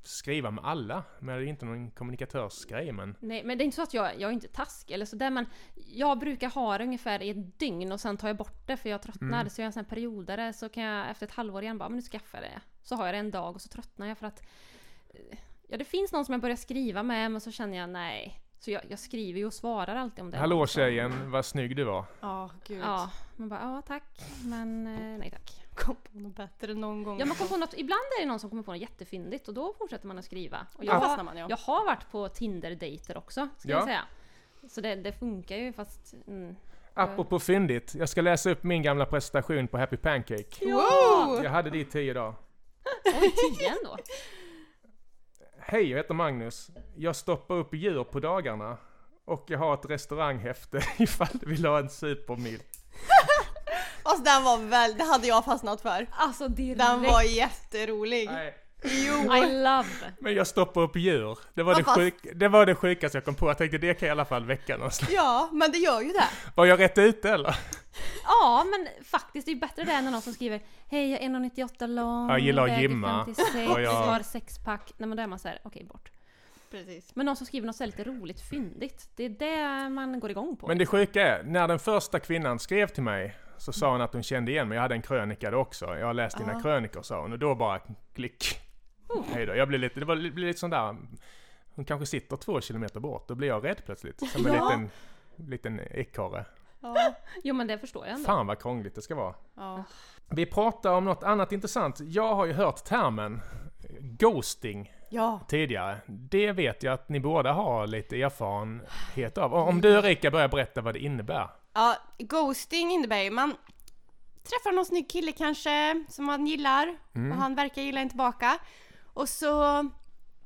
Speaker 1: skriva med alla. Men det är inte någon kommunikatörsgrej men...
Speaker 2: Nej, men det är inte så att jag, jag är inte taskig eller så där, men jag brukar ha det ungefär i ett dygn och sen tar jag bort det för jag tröttnar.
Speaker 1: Mm.
Speaker 2: Så jag är en sån här periodare så kan jag efter ett halvår igen bara, men nu skaffar jag det. Så har jag det en dag och så tröttnar jag för att eh, Ja, det finns någon som jag börjar skriva med men så känner jag nej. Så jag, jag skriver ju och svarar alltid om det.
Speaker 1: Hallå tjejen, vad snygg du var.
Speaker 3: Ja, gud.
Speaker 2: Ja, man bara ja tack, men eh, nej tack.
Speaker 3: Kom på något bättre någon gång.
Speaker 2: Ja, man kommer på något, ibland är det någon som kommer på något jättefyndigt och då fortsätter man att skriva. Och
Speaker 3: Då
Speaker 2: jag,
Speaker 3: fastnar man, ja.
Speaker 2: jag har varit på Tinder-dejter också, ska
Speaker 1: Ja.
Speaker 2: jag säga. Så det, det funkar ju fast...
Speaker 3: [LAUGHS]
Speaker 2: Mm.
Speaker 1: Apropå fyndigt, jag ska läsa upp min gamla presentation på Happy Pancake.
Speaker 3: Wow!
Speaker 1: Jag hade det i tio dagar.
Speaker 2: Oj, tio ändå!
Speaker 1: Hej, jag heter Magnus. Jag stoppar upp djur på dagarna. Och jag har ett restauranghäfte [LAUGHS] ifall du vill ha en supermill.
Speaker 3: Alltså den var väl, det hade jag fastnat för.
Speaker 2: Alltså direkt!
Speaker 3: Den var jätterolig.
Speaker 1: Nej,
Speaker 3: Jo!
Speaker 2: I love!
Speaker 1: Men jag stoppar upp djur. Det var,
Speaker 3: Vad
Speaker 1: det,
Speaker 3: fast-
Speaker 1: sjuk, det var det sjukaste jag kom på. Jag tänkte det kan i alla fall väcka någon slags...
Speaker 3: Ja, men det gör ju det.
Speaker 1: Var jag rätt ute eller?
Speaker 2: Ja, men faktiskt, det är bättre det än när någon som skriver Hej, jag är 1,98 lång,
Speaker 1: Jag gillar att
Speaker 2: väger
Speaker 1: gymma.
Speaker 2: 56,
Speaker 1: Och jag-
Speaker 2: har sexpack. Nej men då är man såhär, okej bort.
Speaker 3: Precis.
Speaker 2: Men någon som skriver något så här lite roligt, fyndigt. Det är det man går igång på.
Speaker 1: Men det sjuka är, när den första kvinnan skrev till mig Så sa hon att hon kände igen mig, jag hade en krönika då också. Jag har läst dina
Speaker 3: Ja. Oh.
Speaker 1: krönikor sa hon och då bara klick. Hej då. Jag blev lite, det var det blev lite sån där, hon kanske sitter två kilometer bort, då blir jag rädd plötsligt. Som en
Speaker 3: Ja.
Speaker 1: liten, liten ekorre.
Speaker 3: Ja.
Speaker 2: Jo men det förstår jag ändå.
Speaker 1: Fan vad krångligt det ska vara.
Speaker 3: ja.
Speaker 1: Vi pratar om något annat intressant. Jag har ju hört termen ghosting
Speaker 3: ja.
Speaker 1: tidigare. Det vet jag att ni båda har lite erfarenhet av. Om du Erika börjar berätta vad det innebär.
Speaker 3: Ja, ghosting innebär ju man träffar någon snygg kille kanske som man gillar
Speaker 1: Mm.
Speaker 3: och han verkar gilla en tillbaka. Och så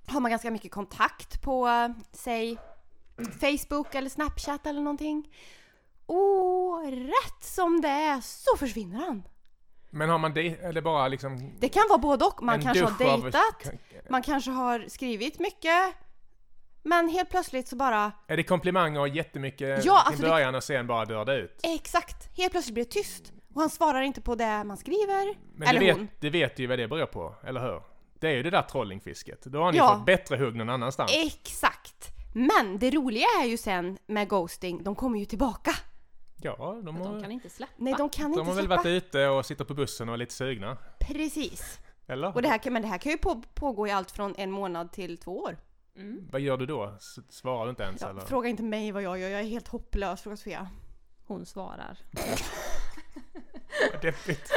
Speaker 3: har man ganska mycket kontakt på, eh, säg Facebook eller Snapchat eller någonting. Och rätt som det är så försvinner han.
Speaker 1: Men har man det, eller bara liksom...
Speaker 3: Det kan vara både och. Man
Speaker 1: en
Speaker 3: kanske har
Speaker 1: dusch av-
Speaker 3: dejtat, man kanske har skrivit mycket. Men helt plötsligt så bara,
Speaker 1: Är det komplimanger och jättemycket
Speaker 3: Ja,
Speaker 1: till
Speaker 3: alltså det-
Speaker 1: början och sen bara dör det ut?
Speaker 3: exakt, helt plötsligt blir det tyst. Och han svarar inte på det man skriver.
Speaker 1: Men
Speaker 3: eller
Speaker 1: du,
Speaker 3: hon.
Speaker 1: vet, du vet ju vad det beror på, eller hur? Det är ju det där trollingfisket. Då har ni
Speaker 3: Ja. Eh.
Speaker 1: fått bättre hugg någon annanstans.
Speaker 3: Exakt! Men det roliga är ju sen med ghosting, de kommer ju tillbaka.
Speaker 1: Ja, de har,
Speaker 2: De kan
Speaker 1: de
Speaker 2: inte släppa.
Speaker 3: Nej, de kan
Speaker 1: har
Speaker 3: inte
Speaker 1: väl
Speaker 3: släppa.
Speaker 1: varit ute och sitter på bussen och är lite sugna.
Speaker 3: Precis.
Speaker 1: Eller?
Speaker 3: Och det här, kan- men det här kan ju på, pågå i allt från en månad till två år.
Speaker 1: Vad gör du då? S- Svarar du inte ens
Speaker 3: Ja,
Speaker 1: eller? [LAUGHS]
Speaker 3: fråga inte mig vad jag gör, jag är helt hopplös. Fråga Sofia.
Speaker 2: Hon svarar.
Speaker 1: Deppigt.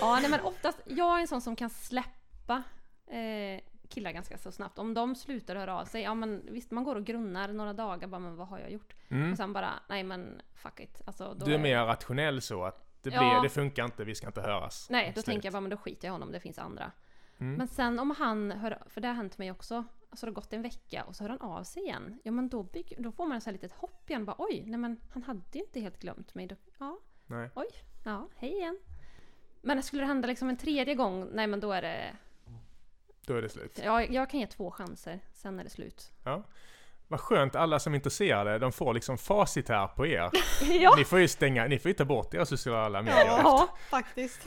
Speaker 2: Ja, nej, men oftast, jag är en sån som kan släppa eh, killar ganska så snabbt. Om de slutar höra av sig, ja men visst man går och grunnar några dagar bara men vad har jag gjort? Och sen bara, nej men fuck it. Alltså, då
Speaker 1: Mm. Du är mer rationell så att det, blir,
Speaker 2: Ja.
Speaker 1: det funkar inte, vi ska inte höras.
Speaker 2: Nej, då
Speaker 1: Slut.
Speaker 2: tänker jag bara men då skiter jag i honom, det finns andra.
Speaker 1: Mm.
Speaker 2: Men sen om han hör, för det har hänt mig också, alltså det har gått en vecka och så hör han av sig igen. Ja men då, bygg, då får man så här litet hopp igen, bara oj, nej men han hade ju inte helt glömt mig. Då, ja,
Speaker 1: Nej.
Speaker 2: Oj, ja, hej igen. Men skulle det hända liksom en tredje gång, nej men då är det...
Speaker 1: Då är det slut.
Speaker 2: Jag, jag kan ge två chanser, sen är det slut.
Speaker 1: Ja. Vad skönt, alla som är intresserade, de får liksom facit här på er.
Speaker 2: [LAUGHS] [LAUGHS] ja!
Speaker 1: Ni får ju stänga, ni får ju ta bort era sociala medier
Speaker 3: Ja, faktiskt.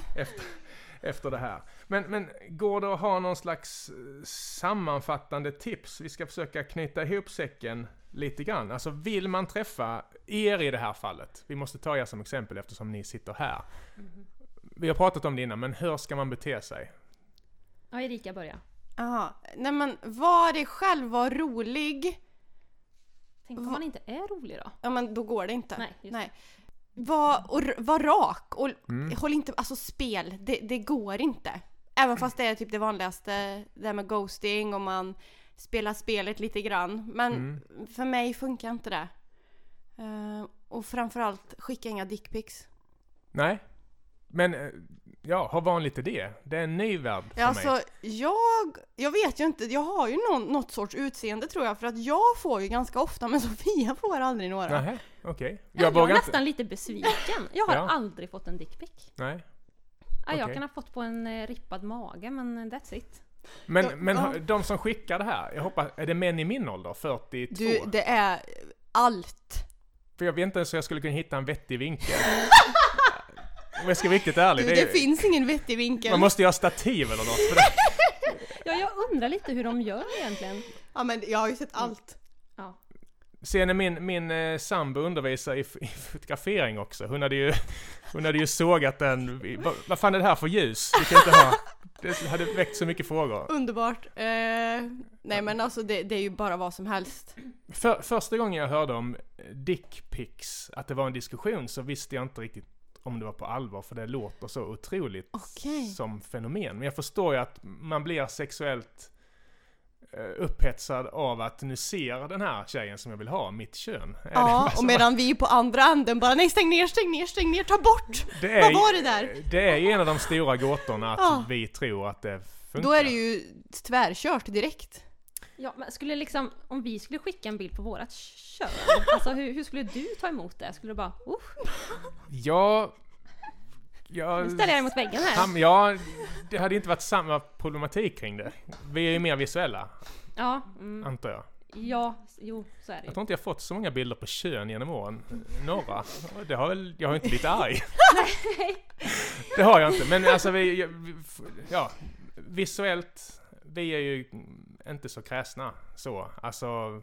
Speaker 1: efter det här. Men, men går det att ha någon slags eh, sammanfattande tips? Vi ska försöka knyta ihop säcken lite grann. Alltså vill man träffa er i det här fallet? Vi måste ta er som exempel eftersom ni sitter här.
Speaker 2: Mm-hmm.
Speaker 1: Vi har pratat om det innan, men hur ska man bete sig?
Speaker 2: Ja, Erika börja.
Speaker 3: Aha. Nej men var dig själv, var rolig.
Speaker 2: Tänk om
Speaker 3: Va-
Speaker 2: man inte är rolig då?
Speaker 3: Ja men då går det inte.
Speaker 2: Mm. Nej, just
Speaker 3: Nej. Var, och, r- var rak och
Speaker 1: Mm.
Speaker 3: håll inte, alltså spel, det, det går inte. Även fast det är typ det vanligaste, det här med ghosting och man spelar spelet lite grann. Men
Speaker 1: Mm.
Speaker 3: för mig funkar inte det. Eh, och framförallt, skicka inga dickpics.
Speaker 1: Nej? Men eh, ja, hur vanligt är det? Det är en ny värld för
Speaker 3: Ja,
Speaker 1: mig.
Speaker 3: Alltså, jag, jag vet ju inte, jag har ju någon, något sorts utseende tror jag för att jag får ju ganska ofta men [LAUGHS] Sofia får aldrig några.
Speaker 1: Nej, okej. Jag
Speaker 2: Jag, jag är
Speaker 1: vågar inte.
Speaker 2: nästan lite besviken. Jag har
Speaker 1: Ja.
Speaker 2: aldrig fått en dickpic.
Speaker 1: Nej.
Speaker 2: Ja, jag
Speaker 1: Okej.
Speaker 2: kan ha fått på en eh, rippad mage, men eh, that's it.
Speaker 1: Men,
Speaker 3: Ja,
Speaker 1: men
Speaker 3: ja.
Speaker 1: har- de som skickar det här, jag hoppas, är det män i min ålder? 42?
Speaker 3: Du, det är allt.
Speaker 1: För jag vet inte ens hur jag skulle kunna hitta en vettig vinkel. Om jag ska vara riktigt ärlig.
Speaker 3: Du, det,
Speaker 1: det är-
Speaker 3: finns ingen vettig vinkel.
Speaker 1: man måste ju ha stativ eller något för det.
Speaker 2: Ja, jag undrar lite hur de gör egentligen.
Speaker 3: Ja men jag har ju sett allt.
Speaker 2: Ja.
Speaker 1: Sen när min, min eh, sambo undervisar i, f- i fotografering också, hon hade ju, hon hade ju sågat den. i- Vad, vad fan är det här för ljus? Vi kan inte ha. Det hade väckt så mycket frågor.
Speaker 3: Underbart. Eh, nej men alltså det, det är ju bara vad som helst.
Speaker 1: För, första gången jag hörde om dickpics, att det var en diskussion, så visste jag inte riktigt om det var på allvar, för det låter så otroligt
Speaker 3: Okej.
Speaker 1: som fenomen. Men jag förstår ju att man blir sexuellt eh, upphetsad av att nu ser den här tjejen som jag vill ha mitt kön. Är
Speaker 3: Ja,
Speaker 1: det-
Speaker 3: och medan vi på andra änden bara nej stäng ner, stäng ner, stäng ner, ta bort!
Speaker 1: det
Speaker 3: Vad
Speaker 1: ju-
Speaker 3: var det där?
Speaker 1: Det är ju en av de stora gåtorna att
Speaker 3: Ja.
Speaker 1: vi tror att det funkar.
Speaker 3: Då är det ju tvärkört direkt.
Speaker 2: Ja, men skulle liksom, om vi skulle skicka en bild på vårat kön, alltså hur, hur skulle du ta emot det? Skulle du bara usch,
Speaker 1: Ja... ja
Speaker 2: nu ställer jag dig mot väggen här.
Speaker 1: Sam, ja, det hade inte varit samma problematik kring det. Vi är ju mer visuella,
Speaker 2: Ja, mm,
Speaker 1: antar jag.
Speaker 2: ja, s- jo, så är det
Speaker 1: Jag
Speaker 2: [LAUGHS] ju.
Speaker 1: tror inte jag fått så många bilder på kön genom åren. Några. Och Det har väl, jag har ju inte blivit arg. Det har jag inte, men alltså vi, jag- vi ja, visuellt, vi är ju inte så kräsna så. Alltså,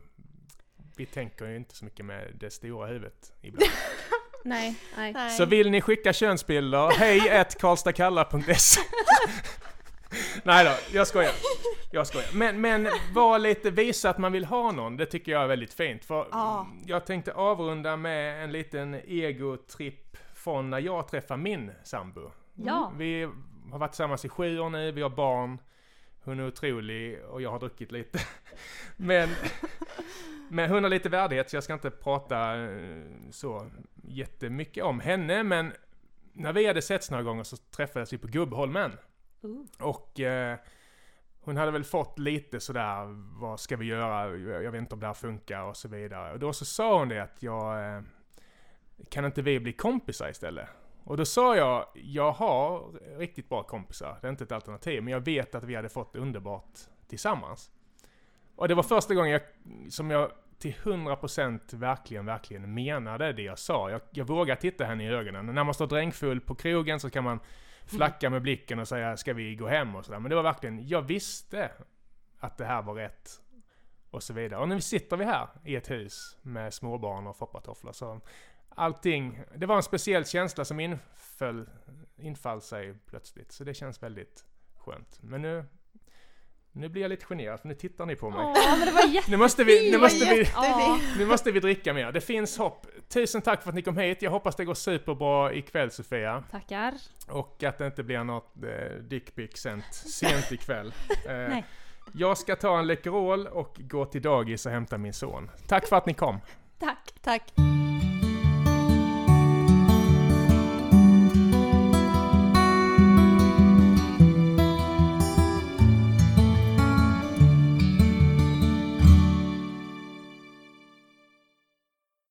Speaker 1: vi tänker ju inte så mycket med det stora huvudet ibland.
Speaker 2: Nej, nej.
Speaker 3: Nej.
Speaker 1: Så vill ni skicka könsbilder, hej karlstadkalla.se [LAUGHS] Nej då, jag skojar. Jag skojar. Men, men var lite, visa att man vill ha någon, det tycker jag är väldigt fint. För
Speaker 3: Ja.
Speaker 1: mm, jag tänkte avrunda med en liten egotripp från när jag träffade min sambo.
Speaker 2: Ja.
Speaker 1: Vi har varit tillsammans i sju år nu, vi har barn. Hon är otrolig och jag har druckit lite. [LAUGHS] Men, men hon har lite värdighet så jag ska inte prata eh, så jättemycket om henne. Men när vi hade setts några gånger så träffades vi på Gubbholmen.
Speaker 2: Ooh.
Speaker 1: Och eh, hon hade väl fått lite sådär, vad ska vi göra? Jag vet inte om det här funkar och så vidare. Och då så sa hon det att jag, eh, kan inte vi bli kompisar istället? Och då sa jag, jag har riktigt bra kompisar, det är inte ett alternativ, men jag vet att vi hade fått det underbart tillsammans. Och det var första gången jag, som jag till 100% verkligen, verkligen menade det jag sa. Jag, jag vågar titta henne i ögonen. När man står drängfull på krogen så kan man flacka med blicken och säga ska vi gå hem och sådär. Men det var verkligen, jag visste att det här var rätt. Och så vidare. Och nu sitter vi här i ett hus med småbarn och foppatofflor. Så allting, det var en speciell känsla som inföll, infall sig plötsligt. Så det känns väldigt skönt. Men nu, nu blir jag lite generad för nu tittar ni på mig.
Speaker 2: Åh, men det var jätte...
Speaker 1: Nu måste vi, nu
Speaker 3: Vad
Speaker 1: måste vi,
Speaker 2: Ja.
Speaker 3: jättefint.
Speaker 1: nu måste vi dricka mer. Det finns hopp. Tusen tack för att ni kom hit. Jag hoppas det går superbra ikväll Sofia.
Speaker 2: Tackar.
Speaker 1: Och att det inte blir något eh, dickpic sent, sent ikväll. Eh,
Speaker 2: Nej.
Speaker 1: jag ska ta en Läkerol och gå till dagis och hämta min son. Tack för att ni kom.
Speaker 2: Tack.
Speaker 3: Tack.